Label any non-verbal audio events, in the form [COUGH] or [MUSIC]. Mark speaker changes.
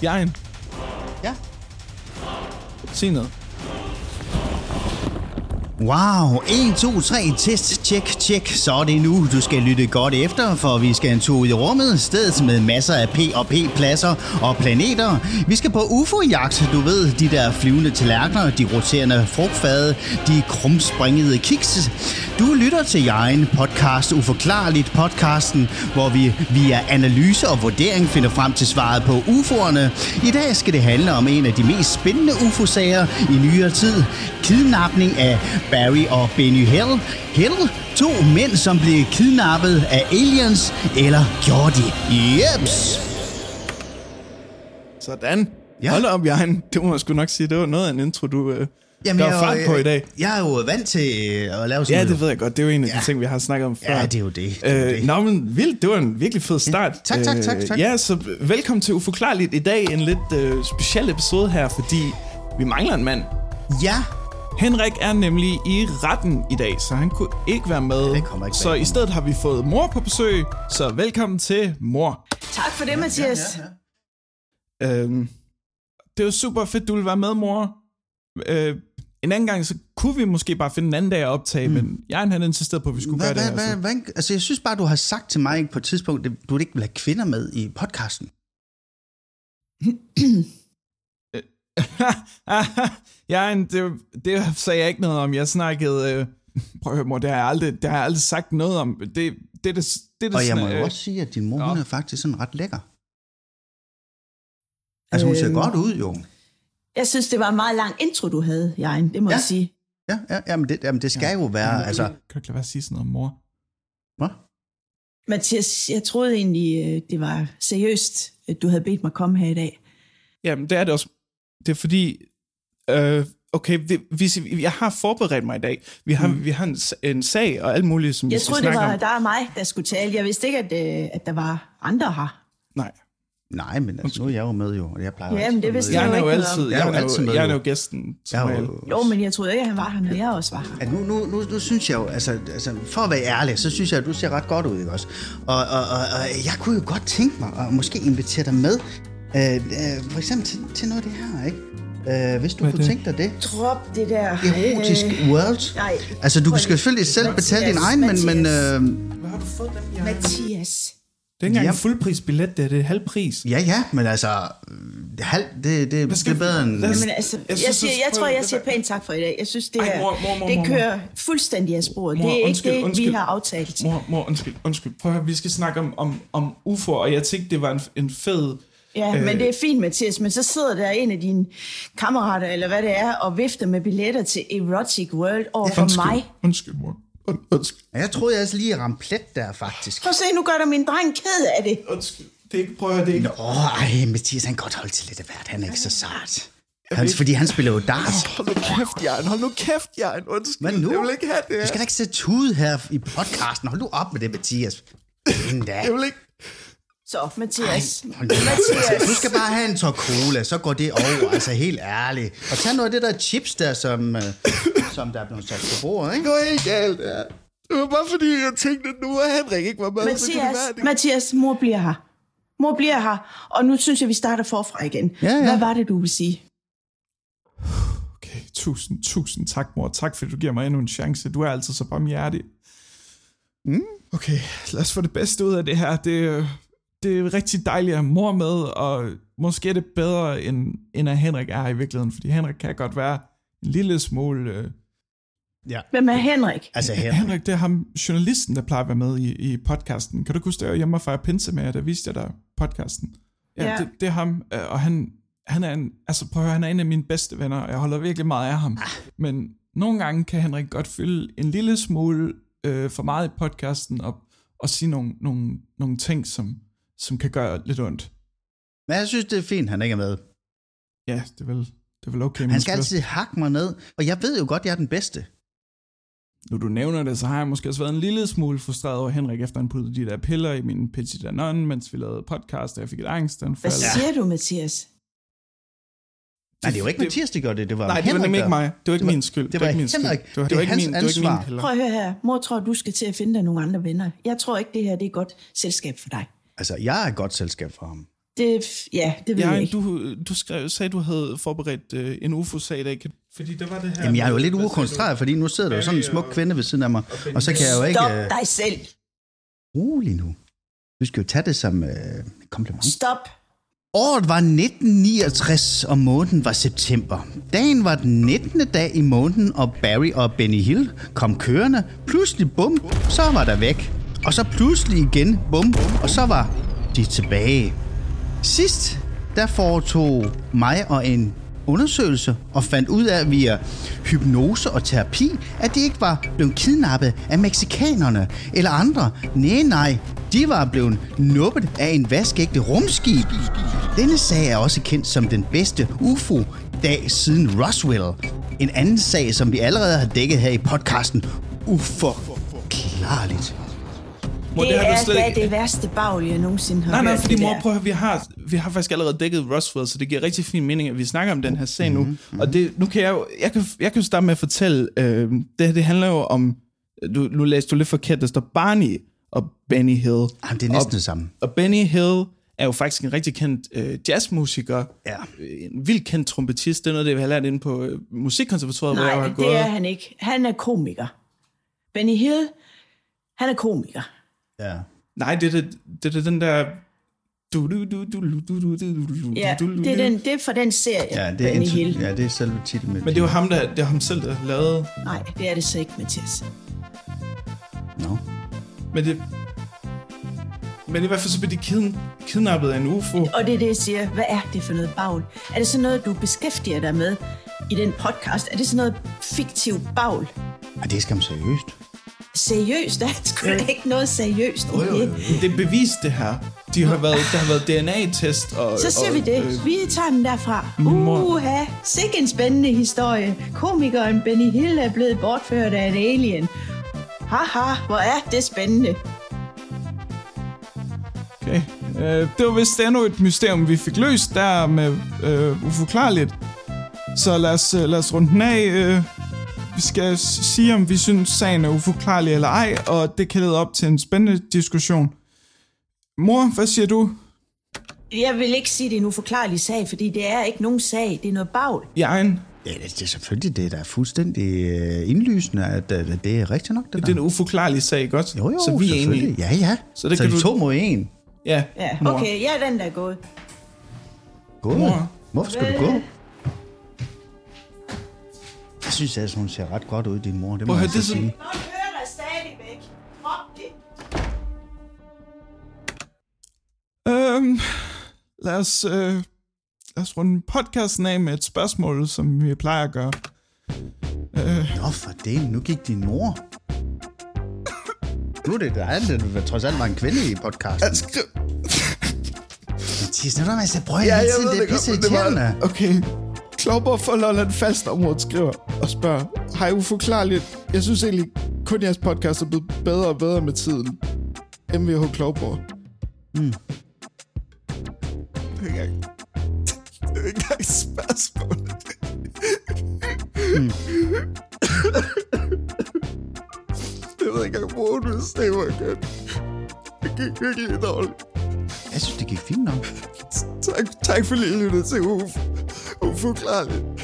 Speaker 1: Bjergen,
Speaker 2: Ja.
Speaker 1: sig noget.
Speaker 2: Wow, 1, 2, 3, test, tjek, tjek. Så er det nu, du skal lytte godt efter, for vi skal en tur ud i rummet, stedet med masser af P og P-pladser og planeter. Vi skal på UFO-jagt, du ved, de der flyvende tallerkener, de roterende frugtfade, de krumspringede kiks. Du lytter til Jejen podcast, Uforklarligt podcasten, hvor vi via analyse og vurdering finder frem til svaret på UFO'erne. I dag skal det handle om en af de mest spændende UFO-sager i nyere tid. Kidnapning af Barry og Benny Hill. Hill, to mænd, som blev kidnappet af aliens, eller gjorde de? Jeps!
Speaker 1: Sådan.
Speaker 2: Ja.
Speaker 1: Ja. Hold da op, Bjergen. Det må man sgu nok sige. Det var noget af en intro, du øh, Jamen, gør fart på i dag.
Speaker 2: Jeg er jo øh, vant til øh, at lave sådan
Speaker 1: Ja,
Speaker 2: noget.
Speaker 1: det ved jeg godt. Det er jo en af de
Speaker 2: Ja.
Speaker 1: ting, vi har snakket om før.
Speaker 2: Ja, det er jo det. Det er jo
Speaker 1: Øh,
Speaker 2: det.
Speaker 1: Nå, men vildt. Det var en virkelig fed start.
Speaker 2: Ja, tak, tak, tak,
Speaker 1: Øh,
Speaker 2: tak.
Speaker 1: Ja, så velkommen til Uforklarligt i dag. En lidt øh, speciel episode her, fordi vi mangler en mand.
Speaker 2: Ja,
Speaker 1: Henrik er nemlig i retten i dag, så han kunne ikke være med.
Speaker 2: det kommer ikke
Speaker 1: så
Speaker 2: bag på
Speaker 1: i stedet har vi fået mor på besøg, så velkommen til mor.
Speaker 3: Tak for det, Mathias. Ja, ja,
Speaker 1: Øhm, det var super fedt, du ville være med, mor. Øh, en anden gang, så kunne vi måske bare finde en anden dag at optage, mm. men jeg han insisterede på, at vi skulle
Speaker 2: hvad,
Speaker 1: gøre
Speaker 2: hvad,
Speaker 1: det.
Speaker 2: hvad,
Speaker 1: [LAUGHS] altså.
Speaker 2: hvad, altså jeg synes bare, du har sagt til mig på et tidspunkt, at du vil ikke vil have kvinder med i podcasten.
Speaker 1: ja, en- det, det sagde jeg ikke noget om. Jeg snakkede... Øh, prøv at høre, mor, det har jeg aldrig, det har jeg aldrig sagt noget om. Det, det, er det, det, det
Speaker 2: Og jeg må
Speaker 1: sådan,
Speaker 2: jo
Speaker 1: øh,
Speaker 2: også sige, at din mor, hun er faktisk sådan ret lækker. Altså hun ser
Speaker 1: Øh,
Speaker 3: Øhm.
Speaker 2: godt ud, jo.
Speaker 3: Jeg synes, det var en meget lang intro, du havde, Jørgen. Det må
Speaker 2: Ja.
Speaker 3: ja. jeg sige.
Speaker 2: Ja, ja jamen, det, jamen det skal jo
Speaker 1: kan du-
Speaker 2: være, altså...
Speaker 1: Kan du ikke lade være at sige sådan noget, mor?
Speaker 2: Hvad?
Speaker 3: Mathias, jeg troede egentlig, øh, det var seriøst, at du havde bedt mig komme her i dag.
Speaker 1: Jamen, det er det også. Det er fordi, øh, okay, vi, vi, jeg har forberedt mig i dag. Vi har, mm. vi har en, s- en sag og alt muligt, som vi
Speaker 3: Jeg
Speaker 1: skal
Speaker 3: troede, det
Speaker 1: snakke
Speaker 3: var
Speaker 1: om.
Speaker 3: dig og mig, der skulle tale. Jeg vidste ikke, at, øh, at der var andre her.
Speaker 1: Nej,
Speaker 2: Nej, men altså, nu er jeg jo med jo, og jeg plejer
Speaker 3: Ja,
Speaker 2: altid
Speaker 3: men det
Speaker 2: at være
Speaker 3: vidste
Speaker 2: med,
Speaker 1: jeg
Speaker 3: jeg
Speaker 1: er
Speaker 3: jo
Speaker 1: jo
Speaker 3: ikke
Speaker 1: altid,
Speaker 3: noget
Speaker 1: jeg er,
Speaker 2: om. Jeg er jo altid
Speaker 1: jo,
Speaker 2: med,
Speaker 1: jeg er
Speaker 2: jo.
Speaker 1: jo gæsten.
Speaker 2: Jeg
Speaker 1: Som
Speaker 2: er
Speaker 1: regel.
Speaker 2: jo,
Speaker 3: Jo, men jeg troede ikke, at han var her, når jeg også var her.
Speaker 2: at nu, nu, nu, nu synes jeg jo, altså, altså for at være ærlig, så synes jeg, at du ser ret godt ud, ikke også? Og, og, og, og jeg kunne jo godt tænke mig at måske invitere dig med, øh, øh, for eksempel til, til noget af det her, ikke? Øh, hvis du
Speaker 1: Hvad er
Speaker 2: kunne
Speaker 1: det?
Speaker 2: tænke dig det.
Speaker 3: Drop det der...
Speaker 2: Erotisk øh, world.
Speaker 3: nej.
Speaker 2: Altså, du
Speaker 3: Prøv
Speaker 2: kan
Speaker 3: lige.
Speaker 2: selvfølgelig selv betale din
Speaker 3: Mathias,
Speaker 2: egen, men... men
Speaker 3: Mathias.
Speaker 2: øh,
Speaker 1: Hvad har du fået dem, Jørgen? Det
Speaker 3: Mathias.
Speaker 1: er ikke engang
Speaker 2: Ja.
Speaker 1: en fuldprisbillet, det er det er halvpris.
Speaker 2: ja, ja, men altså... øh, Halv, det, det, det
Speaker 1: skal
Speaker 2: er
Speaker 1: vi-
Speaker 2: bedre end...
Speaker 1: lad os-
Speaker 3: Jamen, altså, jeg,
Speaker 1: Jeg synes,
Speaker 3: jeg,
Speaker 1: du
Speaker 3: siger,
Speaker 1: skal
Speaker 3: jeg
Speaker 1: prøve
Speaker 3: tror, jeg
Speaker 1: det
Speaker 3: siger
Speaker 1: der.
Speaker 3: pænt tak for i dag. Jeg synes, det,
Speaker 1: Ej,
Speaker 3: er,
Speaker 1: mor, mor, mor, mor,
Speaker 3: det
Speaker 1: mor.
Speaker 3: kører fuldstændig af sporet.
Speaker 1: Mor,
Speaker 3: det er
Speaker 1: undskyld,
Speaker 3: ikke det,
Speaker 1: undskyld.
Speaker 3: vi har aftalt.
Speaker 1: Mor, mor, undskyld, undskyld. Prøv at høre, vi skal snakke om, om, om UFO, og jeg tænkte, det var en, en fed...
Speaker 3: Ja, øh, men det er fint, Mathias, men så sidder der en af dine kammerater, eller hvad det er, og vifter med billetter til Erotic World over for
Speaker 1: undskyld,
Speaker 3: mig.
Speaker 1: Undskyld, mor. Und, undskyld.
Speaker 2: Jeg troede, jeg også lige ramte plet der, faktisk.
Speaker 3: Prøv at se, nu gør der min dreng ked af det.
Speaker 1: Undskyld. Det er ikke, prøv at høre, det er ikke...
Speaker 2: Nå, ej, Mathias, han kan godt holde til lidt af hvert. Han er ikke så sart. Han, fordi han spiller jo dart.
Speaker 1: Hold nu kæft, Jørgen. Hold nu kæft, Jørgen. Undskyld.
Speaker 2: Hvad nu?
Speaker 1: Jeg vil ikke have det
Speaker 2: Du
Speaker 1: her.
Speaker 2: skal da ikke sætte tud her i podcasten. Hold nu op med det, Mathias. Endda.
Speaker 1: Jeg vil ikke...
Speaker 3: Så, Mathias.
Speaker 2: Hold nu op. Altså, Du skal bare have en tår cola, så går det over. Altså, helt ærligt. Og tag noget af det der chips der, som, øh, som der er blevet sat på bordet, ikke?
Speaker 1: Det var helt galt, ja. Det var bare fordi, jeg tænkte, at nu er Henrik ikke var med. så kunne det
Speaker 3: Mathias,
Speaker 1: være, at det-
Speaker 3: Mathias, mor bliver her. Mor bliver her, og nu synes jeg, vi starter forfra igen.
Speaker 2: Ja, ja.
Speaker 3: Hvad var det, du ville sige?
Speaker 1: Okay, tusind, tusind tak, mor. Tak, fordi du giver mig endnu en chance. Du er altid så barmhjertig. Mm. Okay, lad os få det bedste ud af det her. Det, øh, det er rigtig dejligt at have mor med, og måske er det bedre, end, end at Henrik er her i virkeligheden, fordi Henrik kan godt være en lille smule... Øh,
Speaker 3: Hvem er Henrik?
Speaker 2: Altså, her.
Speaker 1: Henrik, det er ham, journalisten, der plejer at være med i, i podcasten. Kan du ikke huske, det var hjemme og fejre pinse med jer, der viste jeg dig podcasten? Ja,
Speaker 3: Ja.
Speaker 1: ja. Det, det er ham, øh, og han, han er en, altså prøv at høre, han er en af mine bedste venner, og jeg holder virkelig meget af ham.
Speaker 2: Ah.
Speaker 1: Men nogle gange kan Henrik godt fylde en lille smule øh, for meget i podcasten op, og sige nogle, nogle, nogle ting, som, som kan gøre lidt ondt.
Speaker 2: Men jeg synes, det er fint, han ikke er med.
Speaker 1: Ja, det er vel, det er vel okay.
Speaker 2: Han
Speaker 1: men
Speaker 2: skal
Speaker 1: skal-
Speaker 2: altid hakke mig ned. Og jeg ved jo godt, jeg er den bedste.
Speaker 1: Nu du nævner det, så har jeg måske også været en lille smule frustreret over Henrik, efter han puttede de der piller i min petit anon, mens vi lavede podcast, og jeg fik et
Speaker 3: Hvad
Speaker 1: angstanfald.
Speaker 3: siger du, Mathias?
Speaker 2: Nej, det er jo ikke
Speaker 1: Det-
Speaker 2: Mathias, der gør det. Det var
Speaker 1: Nej, det var
Speaker 2: Henrik,
Speaker 1: nemlig
Speaker 2: der-
Speaker 1: ikke mig. Det var ikke
Speaker 2: Det var-
Speaker 1: min skyld.
Speaker 2: det
Speaker 1: Det
Speaker 2: var
Speaker 1: var ikke min skyld.
Speaker 2: Henrik.
Speaker 1: Det var, det var
Speaker 2: Det er
Speaker 1: ikke min, det
Speaker 2: hans
Speaker 1: var ikke
Speaker 2: ansvar.
Speaker 1: min piller.
Speaker 3: Prøv at høre her. Mor tror, du skal til at finde dig nogle andre venner. Jeg tror ikke, det her det er et godt selskab for dig.
Speaker 2: Altså, jeg er et godt selskab for ham.
Speaker 3: Det, ja, det ved jeg
Speaker 1: Ja,
Speaker 3: ikke.
Speaker 1: du, du skrev, sagde, du havde forberedt øh, en ufo-sag i dag. Kan- Fordi der var det her...
Speaker 2: Jamen, jeg er jo lidt
Speaker 1: Hvad sagde
Speaker 2: ukoncentreret,
Speaker 1: du?
Speaker 2: fordi nu sidder der jo sådan en smuk kvinde ved siden af mig, og så kan jeg jo ikke...
Speaker 3: Stop
Speaker 2: Øh,
Speaker 3: dig selv.
Speaker 2: rolig nu. Du skal jo tage det som øh, kompliment.
Speaker 3: Stop.
Speaker 2: Året var 1969, og måneden var september. Dagen var den 19. dag i måneden, og Barry og Benny Hill kom kørende. Pludselig bum, så var der væk. Og så pludselig igen bum, og så var de tilbage. Sidst, der foretog mig og en undersøgelse og fandt ud af via hypnose og terapi, at de ikke var blevet kidnappet af meksikanerne eller andre. Nej, nej, de var blevet nuppet af en vaskægte rumskib. Denne sag er også kendt som den bedste UFO-dag siden Roswell. En anden sag, som vi allerede har dækket her i podcasten. Uforklarligt.
Speaker 1: Mor,
Speaker 3: det,
Speaker 1: det har
Speaker 3: er
Speaker 1: du slet
Speaker 3: da
Speaker 1: ikke-
Speaker 3: det værste bagl, jeg nogensinde har
Speaker 1: Nej, nej,
Speaker 3: hørt,
Speaker 1: fordi
Speaker 3: det
Speaker 1: mor,
Speaker 3: der.
Speaker 1: prøv at høre, vi har, vi har faktisk allerede dækket Roswell, så det giver rigtig fin mening, at vi snakker om den her sag nu. Mm-hmm. Og det, nu kan jeg jo, jeg kan, jeg kan jo starte med at fortælle, øh, det her, det handler jo om, du, nu læste du lidt forkert, der står Barney og Benny Hill.
Speaker 2: Jamen, det er næsten det samme.
Speaker 1: Og Benny Hill er jo faktisk en rigtig kendt øh, jazzmusiker,
Speaker 2: Ja.
Speaker 1: Øh, en vildt kendt trompetist, det er noget, det vi har lært inde på øh, musikkonservatoriet, hvor jeg
Speaker 3: Nej,
Speaker 1: har
Speaker 3: det
Speaker 1: gået.
Speaker 3: er han ikke. Han er komiker. Benny Hill, han er komiker.
Speaker 2: Ja.
Speaker 1: Nej, det er, det, det er den der... Du, du, du, du, du, du, du, du, du,
Speaker 3: Ja,
Speaker 1: du, du,
Speaker 3: det er, den, det er fra den serie,
Speaker 2: Ja, det er,
Speaker 3: Benny Hill.
Speaker 2: ja, det er selve titlen.
Speaker 1: Men det er jo ham, der, det er ham selv, der lavede...
Speaker 3: Nej, det er det så ikke, Mathias.
Speaker 2: No.
Speaker 1: Men det... Men i hvert fald så blev de kiden, kidnappet af en ufo.
Speaker 3: Og det er det, jeg siger. Hvad er det for noget bagl? Er det sådan noget, du beskæftiger dig med i den podcast? Er det sådan noget fiktivt bagl?
Speaker 2: Ja, det er skam seriøst.
Speaker 3: Seriøst? [LAUGHS] Der er sgu da ikke noget seriøst i det.
Speaker 1: Det er bevist, det her. De har været, der har været DNA-test og...
Speaker 3: Så siger
Speaker 1: og, øh,
Speaker 3: vi det. Vi tager den derfra.
Speaker 1: mor-
Speaker 3: Uha, sikke en spændende historie. Komikeren Benny Hill er blevet bortført af en alien. Haha, hvor er det spændende.
Speaker 1: Okay. Øh, det var vist endnu et mysterium, vi fik løst der med øh, uforklarligt. Så lad os, øh, lad os runde den af. Øh, vi skal s- sige, om vi synes, sagen er uforklarlig eller ej, og det kan lede op til en spændende diskussion. Mor, hvad siger du?
Speaker 3: Jeg vil ikke sige, det er en uforklarlig sag, fordi det er ikke nogen sag. Det er noget bagl.
Speaker 1: I egen?
Speaker 2: Ja, det, det er selvfølgelig det, der er fuldstændig øh, indlysende, at øh, det er rigtigt nok, det,
Speaker 1: Det
Speaker 2: der.
Speaker 1: er en uforklarlig sag, godt?
Speaker 2: Jo, jo,
Speaker 1: så vi er
Speaker 2: selvfølgelig.
Speaker 1: enige.
Speaker 2: Ja, ja.
Speaker 1: Så det
Speaker 2: så
Speaker 1: kan
Speaker 2: de
Speaker 1: du-
Speaker 2: to mod en.
Speaker 1: Ja,
Speaker 3: Ja,
Speaker 1: mor.
Speaker 3: okay, jeg er den, der er gået.
Speaker 2: Gå.
Speaker 1: Mor.
Speaker 2: Hvorfor skal du
Speaker 3: Hvad?
Speaker 2: gå? Jeg synes altså, hun ser ret godt ud, din mor. Det må
Speaker 1: Prøv at høre,
Speaker 2: jeg altså
Speaker 1: det er sådan-
Speaker 2: sige.
Speaker 3: Folk hører dig stadigvæk. Drop det.
Speaker 1: Øhm, lad, os, øh, lad os runde podcasten af med et spørgsmål, som vi plejer at gøre.
Speaker 2: Nå, for det. Nu gik din mor. Nu er det dig, det trods alt var en kvinde i podcasten.
Speaker 1: skriv...
Speaker 2: Mathias, nu er der masser af brød hele tiden. Det er pisse irriterende.
Speaker 1: Okay. Klopper for Lolland fast området skriver og spørger, hej uforklarligt, jeg synes egentlig kun jeres podcast er blevet bedre og bedre med tiden. MVH Klopper. Mm. Det er ikke engang, det er ikke engang et spørgsmål. [LAUGHS] Jeg ved ikke engang, hvor du staver igen. Det gik virkelig dårligt.
Speaker 2: Jeg synes, det gik fint nok.
Speaker 1: Tak, tak fordi I lyttede til Uf. Uforklarligt.